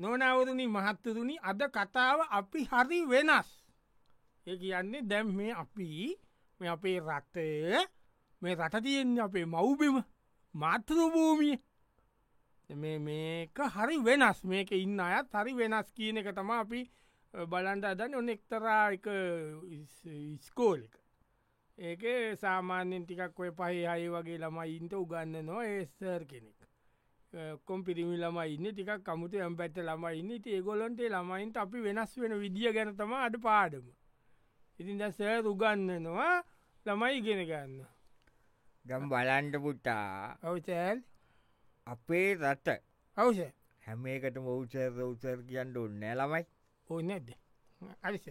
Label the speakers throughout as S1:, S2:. S1: නොනවරණ මහත්තරුණි අද කතාව අපි හරි වෙනස් ඒ කියන්නේ දැම් මේ අපි මේ අපේ රටය මේ රටතියෙන් අපේ මව්බිම මාතෘභූමිය දැන් මේ මේක හරි වෙනස් මේක ඉන්න අයත් හරි වෙනස් කියන එක තම අපි බලන්ට අදන්න ඔන්න එක්තරා එක ස්කෝලික ඒක සාමාන්‍යෙන් ටිකක් ඔය පහහි අය වගේ ළමයින්ට උගන්න නො ඒස්තර් කෙනෙක් කොම් පිරිමි ළමයින්න ටිකක් කමුතු යම් පැත්ත ළමයින්න ඒගොලොන්ටේ ළමයින්ට අපි වෙනස් වෙන විදිිය ගැනතම අඩ පාඩම ඉතින් දැසෑ රුගන්නනවා ළමයි ඉගෙන ගන්න
S2: ගම් බලන්ට පුටා
S1: අවසෑල්
S2: අපේ රට
S1: අවස
S2: හැම එකට මෝචර උසර කියන්න ඕන්නෑ ළමයි
S1: ඕන්න ඇද අරිස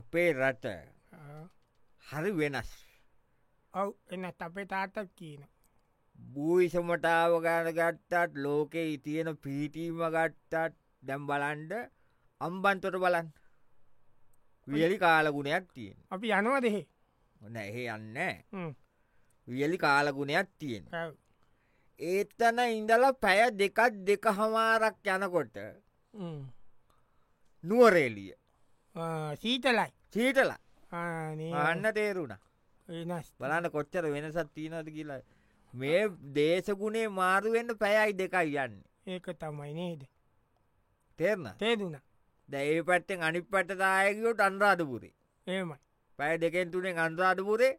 S2: අපේ රට හරි වෙනස්
S1: ඔව් එන්න අපේ තාත්තත් කියන
S2: භූෂමටාව ගාන ගත්තත් ලෝකෙ ඉතියෙන පිහිටීම ගත්තත් දැම් බලන්ඩ අම්බන්තොට බලන් වියලි කාලගුණයක් තියෙන්
S1: අපි යනවා දෙහේ
S2: ඔන්න එහෙ යන්න වියලි කාලගුණයක් තියෙන් ඒත්තන ඉඳලා පැය දෙකත් දෙක හමාරක් යනකොට නුවරේලිය
S1: සීතලයි
S2: සීටල
S1: ආනේ.
S2: අන්න තේරුණ
S1: වෙනස්
S2: බලන්න කොච්චර වෙනසත් තියනද කියලා මේ දේශගුණේ මාරුවෙන්ට පැයයි දෙකයි යන්න
S1: ඒක තමයි නේද
S2: තේරණ
S1: තේදුන
S2: දැයි පැත්තෙන් අනි පටදායකෝට අන්රාධපුරේ
S1: ඒමයි
S2: පැය දෙකෙන් තුනෙන් අන්රාධපුරේ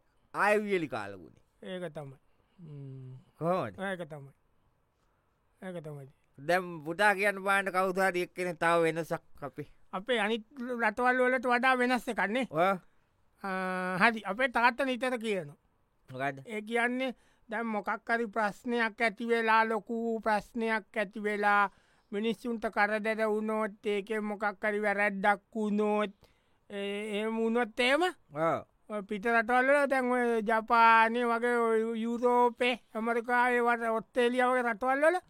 S2: ආයවියලි කාලගුණ
S1: ඒක තමයි ම්ම්.
S2: කෝට
S1: ඒක තමයි ඒක තමයි
S2: දැම් පුටා කියන්න බාන්න කවුදාට එක්කෙන තාව වෙනසක් අපේ
S1: අපේ අනිත් රටවල් වලට වඩා වෙනස්ස කන්නේ හරි අපේ තාත්ත නිතර කියන
S2: මොකද
S1: ඒ කියන්නේ දැම් මොකක්කරි ප්‍රශ්නයක් ඇතිවෙලා ලොකු ප්‍රශ්නයක් ඇතිවෙලා මිනිස්සුන්ට කරදර වුණොත් ඒක මොකක්කරි වැරැද්දක් වුණොත් ඒ මුණොත් ඒම ඔය පිට රටවල්ල දැන් ඔය ජපානය වගේ ඔය යුරෝපේ ඇමරිකාය වට ඔත්තේලියාවගේ රටවල්ලල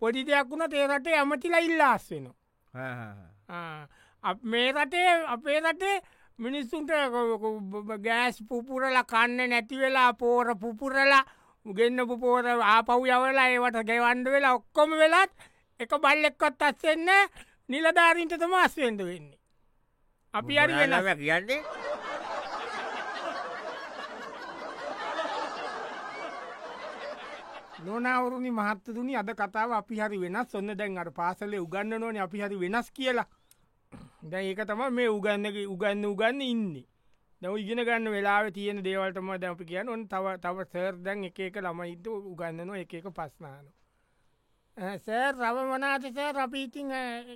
S1: පොඩි දෙයක් වුණ තේරටේ ඇමතිලා ඉල්ලාස් වෙනවා ආ, අප- මේ රටේ අපේ රටේ මිනිස්සුන්ට ක- ක- ගෑස් පුපුරල කන්න නැතිවෙලා පෝර පුපුරලා උගෙන්න්න පුපෝර ආපව් යවලා ඒවට ගෙවන්ඩ වෙලා ඔක්කොම වෙලත් එක බල්ලෙක්කොත් අස්සෙන්න නිලධාරීන්ට තම අස්වෙන්ඩ වෙන්නේ. අපි අරි වෙනස්.
S2: ම කියන්නේ
S1: නොනවරුණි මහත්තතුනි අද කතාව අපි හරි වෙනස් ඔන්න දැන් අට පාසලේ උගන්න නොන අපි හරි වෙනස් කියලා දැ ඒක තම මේ උගන්න උගන්න උගන්න ඉන්නේ දැව ඉගෙන ගන්න වෙලා තියෙන දේවල්ටම දැ අපි කියන්න ඔන් තව තව සර් දැන් එක එක ළමයිත උගන්නන එක එක පස්නාන සර් රව වනාත සෑ රපීතිං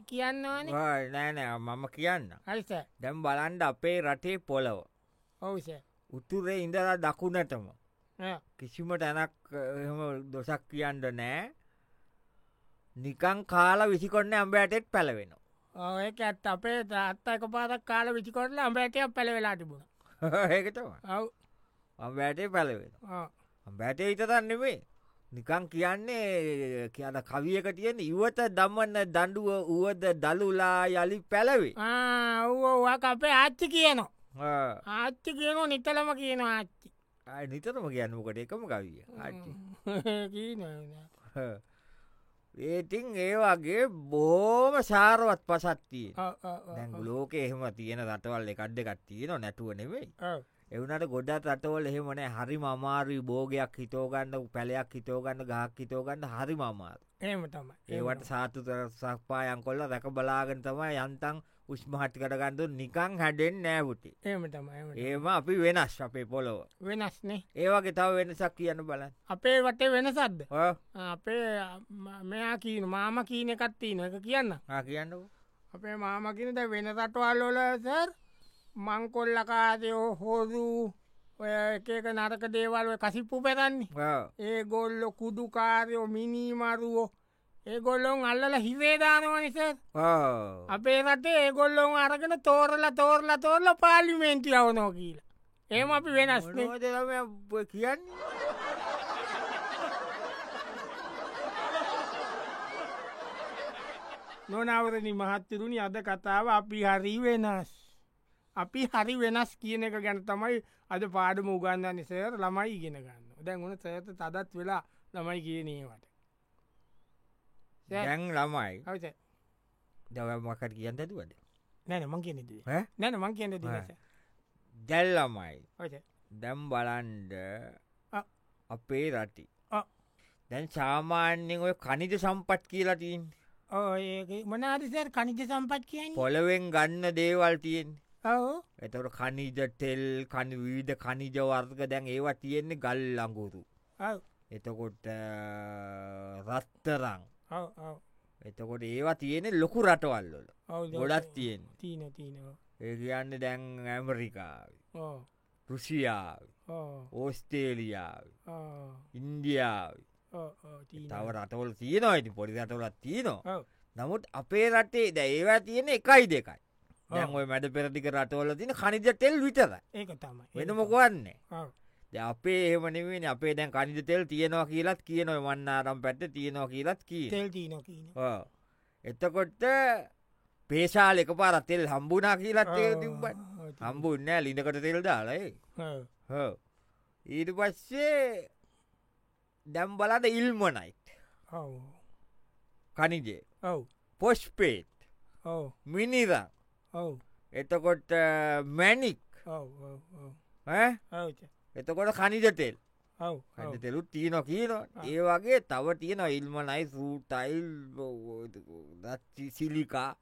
S1: කියන්නවාන
S2: නෑනෑ මම කියන්න
S1: අයිස
S2: දැම් බලන්ඩ අපේ රටේ පොලව
S1: ඔවුස
S2: උතුරේ ඉඳලා දකුණටම කිසිම තැනක් එම දොසක් කියන්න නෑ නිකං කාලා විසිකොන්න ඇම්බෑටෙත් පැලවෙන
S1: ඒක ඇත් අපේ අත්ත එක පාදක් කාල විචිකොටල අඹැටයක් පැළවෙලා තිබුණ
S2: ඒකතම
S1: ඔව්
S2: අම්බෑටේ පැලවෙන
S1: ආ.
S2: අම්බෑට හිතතන්නෙමේ නිකං කියන්නේ කියන කවියක තියෙන ඉවත දමන්න දඩුව වුවද දළුලා යළි පැලවේ
S1: ඕවා අපේ ආච්චි කියනවා ආච්චි කියනවා නිතලම කියන ආච්චි
S2: ආ, නිතරම කියන්නකට එකම කවිය ආච්චි.
S1: කියනවා.
S2: ඒතින් ඒ වගේ බෝම සාරවත් පසත්තිය
S1: ඔව්, ඔව්, ඔව්,
S2: දැංගු ලෝක එහෙම තියෙන රටවල් එකක්්ඩ කත්තියන නැටුව නෙවෙයි
S1: ඔව්.
S2: එවනට ගොඩත් රටවල් එහෙමන හරි මමාරී භෝගයක් හිතෝගන්න පැලයක් හිතෝගන්න ගහක් හිතෝගන්න හරි මමාර
S1: එහෙම තමයි
S2: ඒවට සාතුතර සක්පායන් කොල්ල රැක බලාගෙන තමයි යන්තන් උස්මහට් කරගන්නතු නිකං හැඩෙන් නෑපුටි
S1: එහෙම තමයි එහෙම තමයි.
S2: ඒම අපි වෙනස් අපේ පොලොව
S1: වෙනස්නේ
S2: ඒවගේ තව වෙනසක් කියන්න බලන්න
S1: අපේ වටේ වෙනසද්ද
S2: ඔය
S1: අපේ ම- මෙයා කියන මාම කීන එකත් තියෙන එක කියන්න
S2: ආ කියන්න
S1: අපේ මාමකිනද වෙන රටවල්ලොල සර් මංකොල්ලකාදය හෝදු ඔය එක එක නරක දේවල්ව කසිප්පු පෙරන්නේ ඒ ගොල්ලො කුඩුකාරයෝ මිනීමරුවෝ ඒ ගොල්ලොන් අල්ලල හිවේදානවනිස අපේ රටේ ඒ ගොල්ලොන් අරගෙන තෝරල තෝරල තෝරල පාලිමේන්ති අවනෝ කියලා ඒම අපි වෙනස්
S2: මොනෝදරම කියන්න
S1: නොනවරණ මහත්තරුණි අද කතාව අපි හරි වෙනස් අපි හරි වෙනස් කියන එක ගැන තමයි අද පාඩම උගන්නන්න සේර ළමයි ඉගෙන ගන්න දැන් ඕන සෑත තදත් වෙලා ළමයි කියනීමට
S2: දැන් ළමයි
S1: අවස
S2: දවමකට කියන්න ඇතුවට
S1: නැන මං කියනෙදේ
S2: ඈ?
S1: නැන මං කියන්න
S2: ඈ. දැල්ලමයි
S1: ඔය
S2: දැම් බලන්ඩ
S1: ආ.
S2: අපේ රටි
S1: ආ.
S2: දැන් සාමාන්‍යෙන් ඔය කනිද සම්පට් කියලටන්
S1: ඒ මනාරිසර කනිජ සම්පත් කියන්න
S2: පොළොවෙන් ගන්න දේවල්තියෙන්
S1: ඔවු
S2: එතට කනිජ තෙල් කනි විීධ කනිජවර්ග දැන් ඒවා තියෙන්නේ ගල් ලඟුරු
S1: ඔව්
S2: එතකොට රත්තරං
S1: ඔව් ඔව්
S2: එතකොට ඒවා තියෙන ලොකු රටවල්ලොල
S1: ඔව්
S2: ගොඩත් තියෙන්
S1: තියන තියනවා
S2: ඒ කියන්න දැන් ඇමරිකාව
S1: ඕ
S2: රුසියාව
S1: ඕ
S2: ඕස්ටේලියාව
S1: ඕ
S2: ඉන්දියාව
S1: ඕ ඕ තියනවා
S2: තව රටවල් තියෙනවා ඇති පොඩි රටවලත් තියෙනවා
S1: ඔව්.
S2: නමුත් අපේ රටේ ද ඒවා තියෙන එකයි දෙකයි
S1: ඔව්.
S2: දැන්ඔයි මැද පෙරටික රටවල තින කනිජ තෙල් විතර
S1: ඒක තමයි
S2: වෙන මොකවන්නේ
S1: ඔව්.
S2: ද අපේ එමනිවෙන් අපේ දැන් කනිජ තෙල් තියෙනවා කියලත් කියනොයි වන්නාරම් පැත්ත තියෙනවා කියලත් කිය
S1: තෙල් තියන කියන
S2: එතකොට පේශාල එක පාර තෙල් හම්බුනා කියලත් තිබට හම්බුන්න ලිඳකට තෙල් දාලයි හෝ. ඊට පස්සේ දැම් බලද ඉල්මනයිට්
S1: ඔව්
S2: කනිජේ
S1: ඔව්
S2: පොස්්පේට්
S1: ඔව්
S2: මිනිර
S1: ඔව්
S2: එතකොට මැනික්
S1: ඔව් ඔව් ඔව්
S2: ඈ?
S1: ඔව් ච.
S2: එතකොට කනිජතෙල්
S1: ඔව් ඔව්
S2: කනිතෙලුත් තියන කියන ඒ වගේ තව තියෙන ඉල්මනයි සූටයිල් දච්චි සිලිකා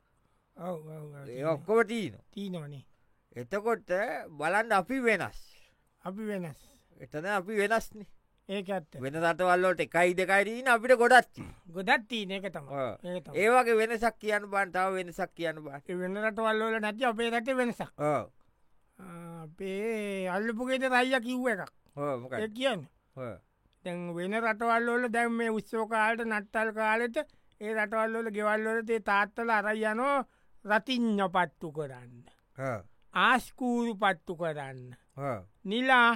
S1: ඔව් ඔව් ඔව්
S2: ඒ ඔක්කොම තියන
S1: තියනවනේ
S2: එතකොට බලන්ඩ අපි වෙනස්
S1: අපි වෙනස්
S2: එතන අපි වෙනස්න
S1: ඒක ඇත්ත
S2: වෙන රටවල්ලට එකයි දෙකයිරීන අපිට ගොඩත්
S1: ගොඩත් තියන එක තම
S2: ඔව්.
S1: ඒක තමයි.
S2: ඒවගේ වෙනසක් කියන්න බන්තාව වෙනසක් කියන්න බා
S1: ඒ වෙන රටවල්ලෝල නැති අපේ රට වෙනසක්
S2: ඕ
S1: ආ, අපේ අල්ලපුගේට රයිය කිව්ව එකක්
S2: ඕ
S1: ඒ කියන්න තැන් වෙන රටවල්ලෝල දැන් මේ උත්සෝකාලට නට්ටල් කාලෙට ඒ රටවල්ලෝල ගෙවල්ලොලතේ තාත්තල අරයි යනෝ රතිං්ඥ පත්තු කරන්න ආස්කූරු පත්තු කරන්න නිලා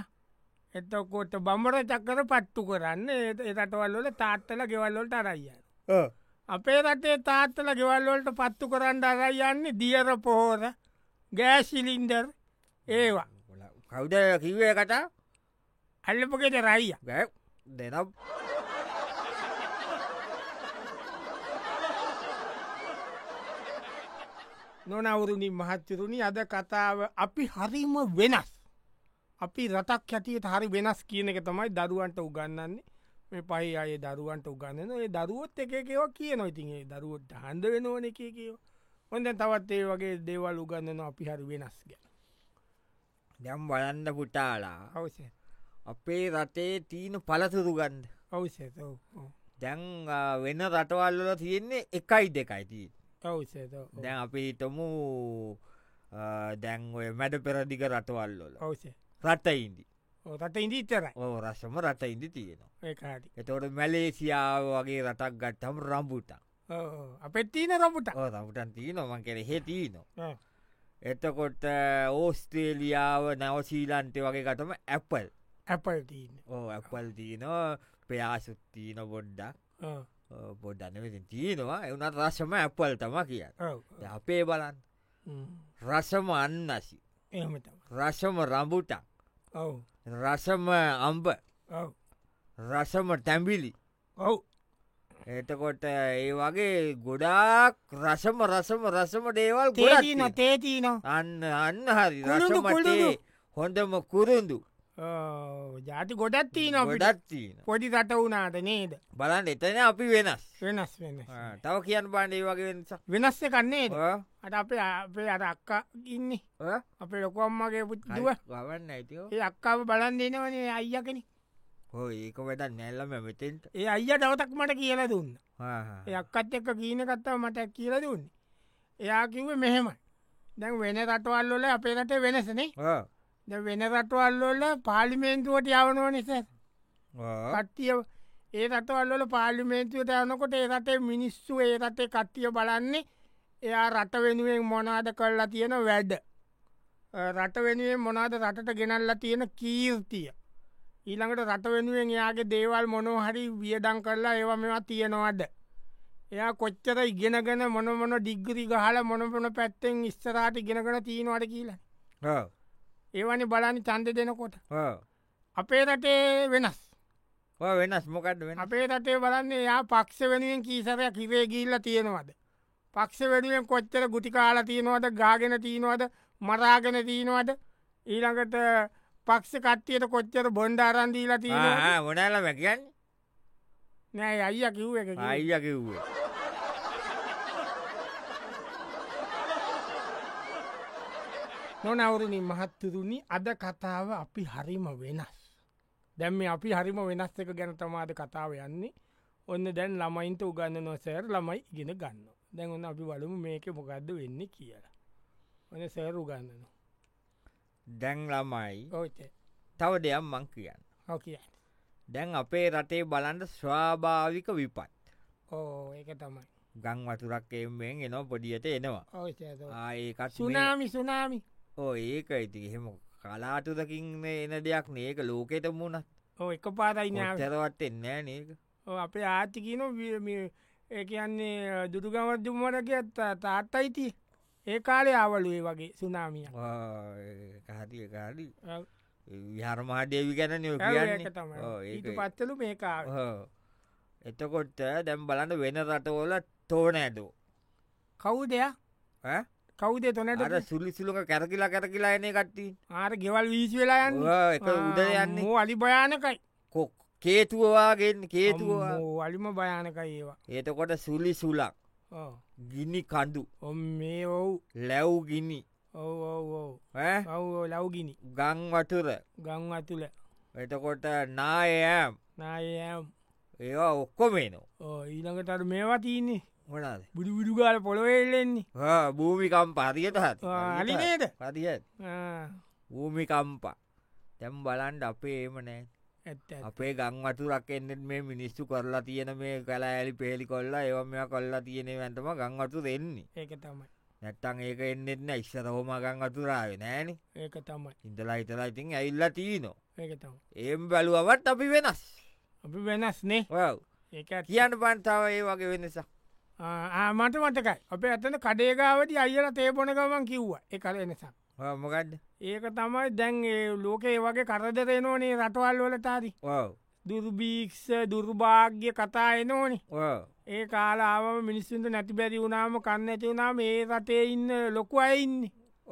S1: එතකොට බඹර චක්කර පත්තු කරන්න ඒ රටවල්ලොල තාත්තල ගෙවල්ලොලට අරයියන්න අපේ රටේ තාත්තල ගෙවල්ලොලට පත්තු කරන්න අරයියන්නේ දියර පොහෝර ගෑසිලින්ඩර් ඒවා
S2: කවුද කිව්වේ කතා
S1: අල්ලපගෙට රයිය
S2: ගැ දෙනම්
S1: නොනවුරුණින් මහත්තරුණි අද කතාව අපි හරිම වෙනස් අපි රටක් හැටියට හරි වෙනස් කියන එක තමයි දරුවන්ට උගන්නන්නේ මේ පහි අය දරුවන්ට උගන්නන ඒ දරුවොත් එකකව කිය නොයිතින්ගේ දරුවොත් හන්ද වෙනෝන එක කියව හොඳ තවත් ඒ වගේ දේවල් උගන්නන අපි හරි වෙනස් ගැන
S2: දැම් බලන්න පුටාලා
S1: අවස
S2: අපේ රටේ තීන පලතුරු ගන්ඩ
S1: අවස
S2: දැන් ආ, වෙන රටවල්ල තියෙන්නේ එකයි දෙකයි තිී
S1: අවස
S2: දැන් අපි හිතමු ආ, දැන් ඔය මැඩ පෙරදික රටවල්ලොල
S1: අවස
S2: රට ඉන්දි
S1: රට ඉදිීතරයි
S2: ඕ රසම රට ඉදි තියෙනවා
S1: ඒකාටි
S2: එතවට මැලේසියාව වගේ රටක් ගට්ටම් රම්බුටන්
S1: අපෙත්තිීන රපුට
S2: රමටන් තියනොමන් කෙන හෙටීනවා
S1: ඔව්.
S2: එතකොට ඕස්ට්‍රේලියාව නැවසීලන්ටය වගේ ගටම ඇපල්
S1: ඇපල්ටීන
S2: ඕ ඇපල් තියන ප්‍රයාසුත්තිීන බොඩ්ඩක් බොඩ්ඩන්න තියෙනවා එවනත් රශම ඇපල් තම කිය අපේ බලන් රසම අන්නසි
S1: එහමතම
S2: රසම රඹුටන්
S1: ඔව
S2: රසම අම්බ
S1: ඔව
S2: රසම තැම්බිලි
S1: ඔව්
S2: එතකොට ඒ වගේ ගොඩාක් රසම රසම රසම දේවල් ගොඩක්
S1: තේදීන
S2: තියෙනවා.
S1: තේතිීන
S2: අන්න අන්න හරි
S1: කුළුණු කුළුණු.
S2: රසමටේ හොඳම කුරුදු
S1: ජාති ගොඩත් තියන
S2: ගොඩක් තියෙන
S1: පොඩි රට වුනාට නේද
S2: බලන්න එතන අපි වෙනස්
S1: වෙනස් වෙන
S2: ආ, තව කියන්න බාණ්ඩ ඒ වගේ වෙනසක්
S1: වෙනස්ස කන්නේ
S2: ආ,
S1: අට අපේ අපේ අර අක්කා ඉන්නේ
S2: ආ,
S1: අපේ ලොකොම්මගේ
S2: හරි,
S1: පුද්දුව
S2: ගවන්න ඇතිෝ
S1: ඒ අක්කාව බලන් දෙනවනේ අයිය කෙනෙ
S2: හෝ ඒක වැඩ නැල්ලම මෙතෙන්ට
S1: ඒ අයිය දවතක් මට කියලා දුන්න ඒ අක්කත් එක්ක ගීන කත්තාව මට කියල දුන්න එයා කිව්ව මෙහෙමයි දැන් වෙන රටවල්ලොල අපේ රට වෙනසනේ දැන් වෙන රටවල්ලොල පාලිමේන්තුවට යවනෝ නිසා කට්ටිය ඒ රටවල්ල පාලිමේන්තුවට යනකොට ඒ රටේ මිනිස්සු ඒ රටේ කට්ටිය බලන්නේ එයා රට වෙනුවෙන් මොනාද කල්ලා තියෙන වැඩ අ, රට වෙනුවෙන් මොනාද රටට ගෙනල්ලා තියෙන කීර්තිය ඊළඟට රට වෙනුවෙන් එයාගේ දේවල් මොනෝ හරි වියඩං කරලා ඒව මෙවා තියෙනවාද එයා කොච්චර ඉගෙනගෙන මොනමොන ඩිග්ගරි ගහල මොනපොන පැත්තෙන් ඉස්සරාට ඉගෙනගෙන තියෙනවාට කියලා ඒවනි බලනි චන්ද දෙනකොට අපේ රටේ වෙනස්
S2: වෙනස් මොකක්ද වෙන
S1: අපේ රටේ බලන්න යා පක්ෂ වෙනුවෙන් කීසරයක් හිරේ ගිල්ල තියෙනවද පක්ෂ වැඩුවෙන් කොච්චර ගුටිකාල තියෙනවද ගාගෙන තියෙනවද මරාගෙන තියෙනවද ඊළඟට පක්ෂ කට්ටියට කොච්චර බොන්්ඩ අරන්දීලා තියෙන
S2: මොනල වැකන්
S1: නෑ අයිය කිව් එක කිව්වේ.
S2: අයිය කිව්ව
S1: නොනවරණ මහත්තුරුණි අද කතාව අපි හරිම වෙනස්. දැම්ම අපි හරිම වෙනස් එක ගැන තමාද කතාව යන්නේ ඔන්න දැන් ළමයින්ට උගන්න නොසෑර ළමයි ඉගෙන ගන්න. දැන් ඔන්න අපි වලමු මේක මොකක්ද වෙන්න කියලා. ඔන්න සෑර උගන්නන
S2: දැන් ළමයි
S1: ඕත
S2: තව දෙයක් මං කියන්න
S1: හෝ කිය
S2: දැන් අපේ රටේ බලන්ට ස්වාභාවික විපත්
S1: ඕ ඒක තමයි
S2: ගං වතුරක් එෙන් එනවා පොඩියට එනවා Ah,
S1: ඕ
S2: ආඒකත්
S1: සුනාමි සුනාමි
S2: ඕ ඒක ඇති එහෙම කලාටුදකින් එන දෙයක් නඒක ලෝකෙට මුණ
S1: ඕ එක පාරයිනාව
S2: චරවත් එන්නෑ නක
S1: ඔව් අපේ ආර්ථිකන ඒ කියන්නේ දුටුගමරදුමටගත් තාත් අයිති ඒ කාලේ ආවලුවේ වගේ සුනාමිය
S2: හරි කාරි විහරමහාදේවි ගැන නිය
S1: ට
S2: කියන්නේ
S1: පත්තලු මේකාව
S2: එතකොට දැම් බලන්න වෙන රටවෝල තෝන ඇදෝ
S1: කවුදයක් කවුද
S2: අර
S1: තොනට
S2: සුල්ලි සුලක කැරකිලා කැරකිලා එන කට්ටි
S1: ආර ගෙවල් වීශ වෙලා යන්න
S2: එක
S1: Ah,
S2: උඩ යන්නේ
S1: අලි භයානකයි
S2: කොක් කේතුවවාගෙන් කේතුවා
S1: අලිම භයානකයි ඒවා
S2: එතකොට සුලි සුලක්
S1: ඔව්.
S2: ගිනි කඳු
S1: ඔම් මේ ඔව්
S2: ලැව් ගිනි
S1: ඔව් ඔව් ඔව්
S2: ඈ?
S1: ඔව් ලව්ගිනි
S2: ගං වටුර
S1: ගං අතුල
S2: එතකොට නායෑම්
S1: නායම්
S2: ඒවා ඔක්කොමේනෝ
S1: ඊළඟටට මේවා තියන්නේ
S2: මොනාද
S1: බුඩු විඩුගාල පොළොවෙල්ලෙන්නේ
S2: භූමිකම්ප හරියට හත්
S1: අලිනේද
S2: හරිය භූමිකම්පා තැම් බලන්ඩ අපේ ඒම නෑ
S1: ඇත්ත
S2: අපේ ගංවතුරක් එන්නෙත් මේ මිනිස්සු කරලා තියෙන මේ කලා ඇලි පෙහෙලි කොල්ලා ඒව මෙයා කොල්ලා තියෙන ඇතම ගංවතු දෙන්නේ
S1: ඒක තමයි
S2: නැත්තං ඒක එන්නෙත්න ඉස්සරහෝම ගංවතුරාව නෑන
S1: ඒක තමයි
S2: ඉඳලා හිතලා ඉතින් ඇල්ලා තියනෝ
S1: ඒක තම
S2: ඒම් බැලුවවත් අපි වෙනස්
S1: අපි වෙනස් නේ
S2: ඔව්.
S1: ඒක ඇත්ත.
S2: කියන්න පන්තාව ඒ වගේ වෙනසා
S1: ආ, ආ, මට මටකයි අපේ ඇතන කඩේගාවටි අයිල තේබොන ගමන් කිව්වා එකර එනිසා
S2: මොකක්ද
S1: ඒක තමයි දැන් ඒ ලෝකේ ඒ වගේ කරදරේ නෝනේ රටවල් වල තාරි
S2: ඕ
S1: දුර්භීක්ෂ දුර්භාග්‍ය කතා එනෝනි
S2: ඕ
S1: ඒ කාලාව මිනිස්සුන්ට නැති බැරි වුණාම කන්න ඇති වුණාම ඒ රටේ ඉන්න ලොකු අයින්න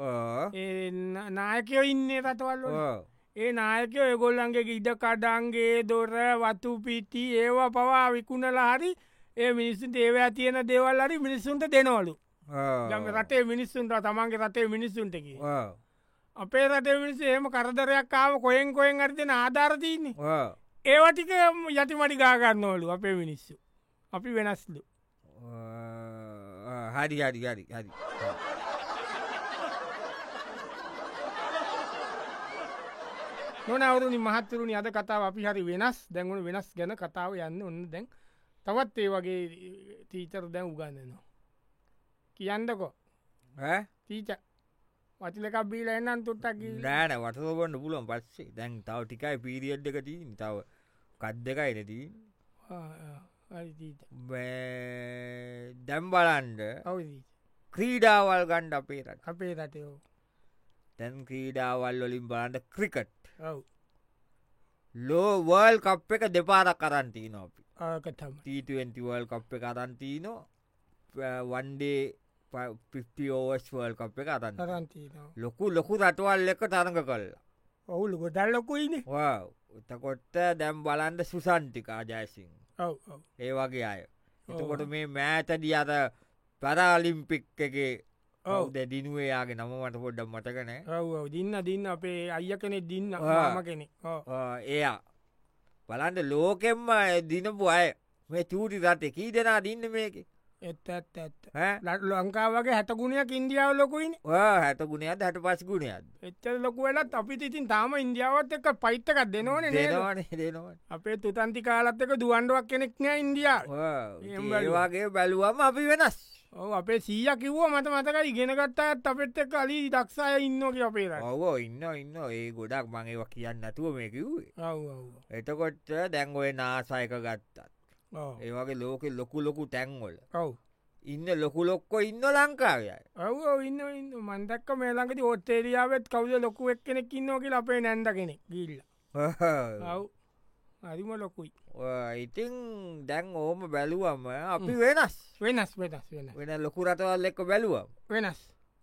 S2: ඕ
S1: නායකයෝ ඉන්න රටවල් වල.
S2: ඕ
S1: ඒ නායකයෝ ඒගොල්ලන්ගේ ඉඩ කඩන්ගේ දොර වතු පිටි ඒවා පවා විකුණලා හරි ඒ මිනිස්සුන් ඒවයා තියෙන දේවල් හරි මිනිස්සුන්ට දෙනවලු ගම රටේ මිනිස්සුන්ට තමන්ගේ රටේ මිනිස්සුන්ටකි
S2: ඕ
S1: අපේ රටේ මිනිස් ඒම කරදරයක් ආව කොයෙන් කොයෙන් අරිතෙන ආධාරතියන්නේ
S2: ඕ
S1: ඒවටික යටි මඩි ගාගන්නවලු අපේ මිනිස්සු අපි වෙනස්ලු
S2: හරි හරි හරි හරි
S1: නොනවරුනි මහත්තරුණනි අද කතාව අපි හරි වෙනස් දැන්වුණු වෙනස් ගැන කතාව යන්න ඔන්න දැන් තවත් ඒ වගේ තීචර දැන් උගන්නනවා. කියන්නකෝ
S2: ඈ?
S1: තීච වචිලක බීල එන්නම් තුොට්ටක් ගිල්ල
S2: නෑන වටතබන්න පුලුවන් පස්සේ දැන් තව ටිකයි පිරිියඩ් එකතිී තව කත් දෙකයි නැතිී
S1: තීච
S2: දැම් බලන්ඩ
S1: අවදී
S2: ක්‍රීඩාවල් ගණ්ඩ අපේ රට
S1: අපේ රටයෝ
S2: තැන් ක්‍රීඩාවල් වලින් බලන්ට ක්‍රිකට්
S1: ඔව්
S2: ලෝවල් කප් එක දෙපාරක් කරන්තිී නොපි
S1: ආකතම
S2: T20වල් කප් එක අරන්තිී නො වන්ඩේ පිෝස්වල් කප් එක අරන්න
S1: තරන්තිීනවා
S2: ලොකු ලොකු රටවල් එක තරඟ කල්ලා
S1: ඔවුලු ගොඩල්ලොකුයින
S2: වා උතකොට්ට දැම් බලන්ඩ සුසන්ටිකා ජයසින්
S1: ඔව් ඔව්.
S2: ඒ වගේ අය එතකොට
S1: ඔව්.
S2: මේ මෑතදි අර පරාලිම්පික් එක
S1: ඔව්.
S2: ඔවු දැදිනුවයාගේ නම මට පොඩ්ඩම් මටකන
S1: ඔව් ඔව් දින්න දින්න අපේ අය කෙනෙ දින්න
S2: ආ.
S1: ම කෙනෙ
S2: එයා බලන්ට ලෝකෙම්ම දිනපු අය මේ චූටි රට කී දෙනා දින්න මේක
S1: එත් ඇත් ඇත්ත ලට ලංකාවගේ හැතගුණයක් ඉන්දියාව ලොකුයින
S2: හැත ගුණයත් හැට පස් ගුණයක්ද
S1: එච්චර ලොක වෙලත් අපිට ඉතින් තාම ඉන්දියාවත් එක පයිත්තකක් දෙනවන නේද
S2: දෙනවන දෙනවා
S1: අපේ තුතන්ති කාලත් එක දුවන්ඩුවක් කෙනෙක්න ඉන්දියා එහෙම බැලුවා.
S2: ඒවාගේ බැලුවම අපි වෙනස්
S1: ඔව අපේ සීය කිව්ව මත මතක ඉගෙනගත්තාත් අපෙත් එක් කලි දක්ෂය ඉන්නෝක අපේර
S2: ඔවෝ ඉන්න ඉන්න ඒ ගොඩක් මඟේව කියන්න නැතුව මේ කිව්වේ
S1: ඔව්
S2: එතකොට දැන්ගොය නාසායක ගත්තත් ඒවගේ ලෝකෙ ලොකු ලොකු තැන්වොල ඉන්න ලොකු ලොක්කො ඉන්න ලංකාවයයි
S1: ඔව ඉන්න ඉන්න මන්දක්ක මේලඟට ඔත්තේරියාවත් කවද ලොකු එක් කෙනෙක් ඉන්නෝක අපේ නැන්ද කෙනෙක් ගිල්ල ඔව් අරිම ලොකුයි
S2: ඉතිං දැන් ඕම බැලුවම අපි වෙනස්
S1: වෙනස් වෙනස් වෙන
S2: වෙන ලොකු රටවල් එක්ක බැලුවම්
S1: වෙනස්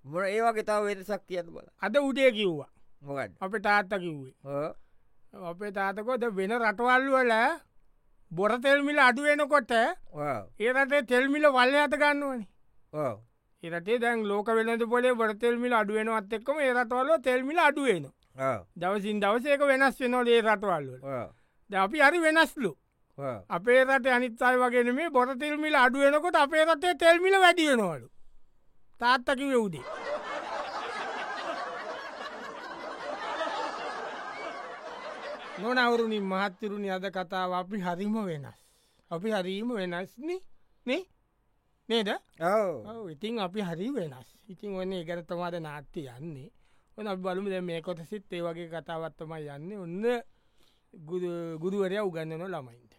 S2: මොන ඒවා තාව වෙනසක් කියන්න බල
S1: අද උඩේ කිව්වා
S2: මොකත්
S1: අපේ තාත්ත කිව්වේ
S2: Oh,
S1: අපේ තාතකොද වෙන රටවල්වල බොර තෙල්මිල අඩුවෙනකොට ඒ රටේ තෙල්මිල වල්ල අත ගන්නවනේ එරටේ දැන් ලෝක වෙන පොලේ බොරතෙල්මිල අඩුවෙනවත් එක්කම ඒ රටවල්ල තෙල්මිල අඩුවෙන දවසින් දවසේක වෙනස් වෙනෝදේ රටවල්ල ද අපි හරි වෙනස්ලු අපේ රට අනිත්තයි වගෙන මේ බොර තෙල්මිල අඩුවෙනකොට අපේ රටේ තෙල්මිල වැඩියෙනවලු තාත්තකිව උදේ නොනවුරුණින් මහත්තරුණි අද කතාව අපි හරිම වෙනස් අපි හරීම වෙනස්න නේ නේද
S2: Oh,
S1: ඔව් ඉතින් අපි හරි වෙනස් ඉතින් ඔන්න එකරතමාද නාත්ති යන්නේ ඔන බලුම දැ මේ කොට සිත් ඒ වගේ කතාවත්තම යන්නේ ඔන්න ගුරුවරයා උගන්නන ළමයින්ට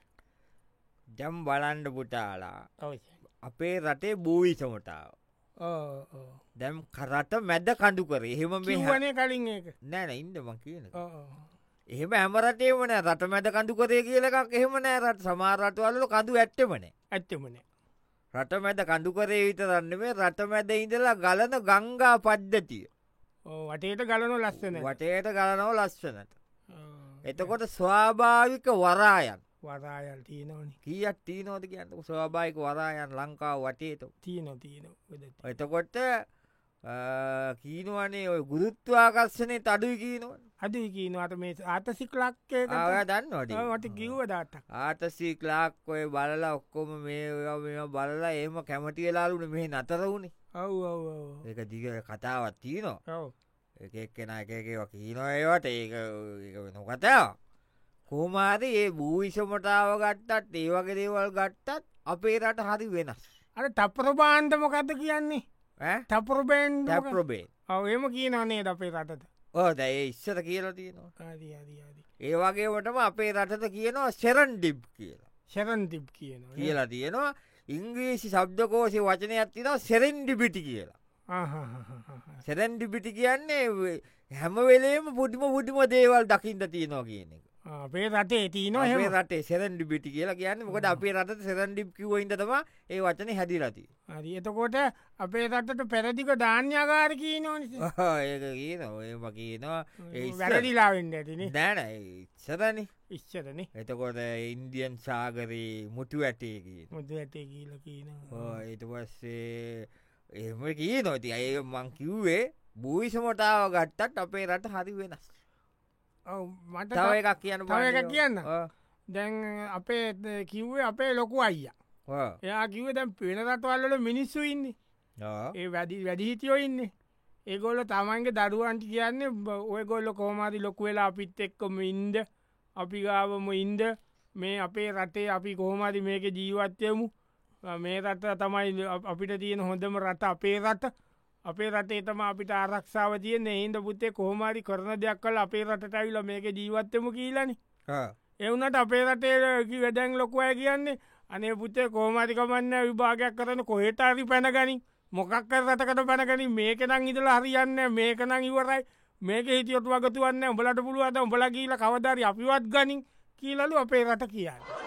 S2: ජම් බලන්ඩ පුටාලා
S1: අවශ්‍ය
S2: අපේ රටේ භූවිසමටාව දැම් කරට මැද්ද කඩු කර එහෙම මේ හ-
S1: වනේ කලින් ඒක
S2: නෑන ඉන්දම කියන
S1: ඔව් ඔව්.
S2: එහෙම ඇමරටේමන රට මැද කඳු කරේ කියලක් එහෙම නෑ රට සමාරටවල්ල කඳු ඇත්තමනේ
S1: ඇත්තමනේ
S2: රට මැද කඳු කරේ විතරන්න මේ රට මැද ඉඳලා ගලන ගංගා පද්ධතිය
S1: ඕ වටේට ගලනු ලස්සන
S2: වටයට ගලනව ලස්සනට එතකොට ස්වාභාවික වරායන්
S1: වරායල් තියනවන
S2: කියක් තිීනෝද කියන්න ස්වාභායික වරායන් ලංකාව වටේතු
S1: තියන තියන වෙදට
S2: එතකොට අ, කියනවනේ ඔය ගුරුත්වාකර්ශනය තඩුයි කියනවන්
S1: අද කියනවට මේ ආතසිකලක්කේ
S2: ආය දන්න
S1: මට
S2: වට
S1: කිව්ව දාටක්
S2: ආටසී ක්ලාක් ඔය බලලා ඔක්කොම මේ ඔය මෙ බලලා ඒම කැමති වෙලාලුන මේ නතර වුණේ
S1: ඔව් ඔව් ඔව්.
S2: ඒක දිග කතාවත් තියනවා
S1: ඔව්
S2: එකක් කෙන එකකව කියීනොඒවට ඒක නොකතාව කෝමාරි ඒ භූවිෂමටාව ගත්තත් ඒ වගේ දේවල් ගත්තත් අපේ රට හරි වෙනස්
S1: අර තපර බාන්ධමකත කියන්නේ තපර බෙන්්
S2: දැප්‍රබේ
S1: ඔවම කියනනේ අපේ රටට
S2: ඕ දැයි ඉස්සර කියලා තියෙනවා
S1: ආදී ආදී ආදී
S2: ඒ වගේටම අපේ රටට කියනවා සෙරන්ඩිබ් කියලා
S1: ශරන්තිප් කියන
S2: කියලා තියෙනවා ඉංග්‍රීසි සබ්දකෝසි වචනයක් තිනවා සෙරෙන්ඩිබිටි කියලා සැරැන්ඩිපිටි කියන්නේ වේ- හැමවෙලේම පුඩිම පුඩිම දේවල් දකිින්ට තියනවා කියන එක
S1: අපේ රටේ තියන හෙම
S2: අපේ රටේ සැරැන්ඩිපිටි කියලා කියන්න මොකට අපේ රට සැරැන්ඩිප් කිවයින්ටම ඒ වචන හැදිලති
S1: හරි එතකොට අපේ රටට පැරදික ධාන්‍යකාර කියීනෝනි
S2: ඒක කියන ඔයම කියනවා ඒ ඉස්සර-
S1: වැරදිලාවෙන්න ඇතින
S2: නෑන ඉස්සරණ
S1: ඉස්සරන
S2: එතකොට ඉන්දියන් සාගරයේ මුටු ඇටේ කියන
S1: මුද ඇතේ කියල කියන
S2: එට පස්සේ එම කිය නොති අය මං කිව්වේ භූවිෂමටාව ගත්තත් අපේ රට හරි වෙනස්
S1: මට
S2: තව එකක් කියන්න
S1: තව එකක්
S2: බලන්න.
S1: කියන්න.
S2: ඔව්.
S1: දැන් අපේ ත- කිව්වේ අපේ ලොකු අයිය
S2: ඔව්.
S1: එයා කිව දැම් පෙන රටවල්ල මිනිස්සු ඉන්න
S2: ආ.
S1: ඒ වැඩි වැඩිහිටියෝ ඉන්න ඒගොල්ල තමන්ගේ දරුවන්ට කියන්න ඔයගොල්ල කෝමාරි ලොකු වෙලා අපිත් එක්කොම ඉන්ද අපි ගාවම ඉන්ද මේ අපේ රටේ අපි කොහොමරි මේක ජීවත්යමු අ, මේ රට තමයි අප- අපිට තියෙන හොඳම රට අපේ රට අපේ රටේ තම අපිට ආරක්ෂාව තියන ඒන්ද පුත්තේ කොහොමරි කරන දෙයක් කල අපේ රට ඇවිල මේක ජීවත්තම කියීලනි
S2: ආ.
S1: එවනට අපේ රටේ වැඩැන් ලොකුවය කියන්නේ අනේ පුතේ කෝමතිකමන්න විභාගයක් කරන කොහෙටාරි පැනගනින් මොකක්ක රටකට පැනගනින් මේකනං ඉදල හරියන්න මේකනං ඉවරයි මේක හිතියොත් වගතුවන්න උඹලට පුළුවද උඹලගීල කවදරි අපිවත් ගනින් කියලලු අපේ රට කියන්න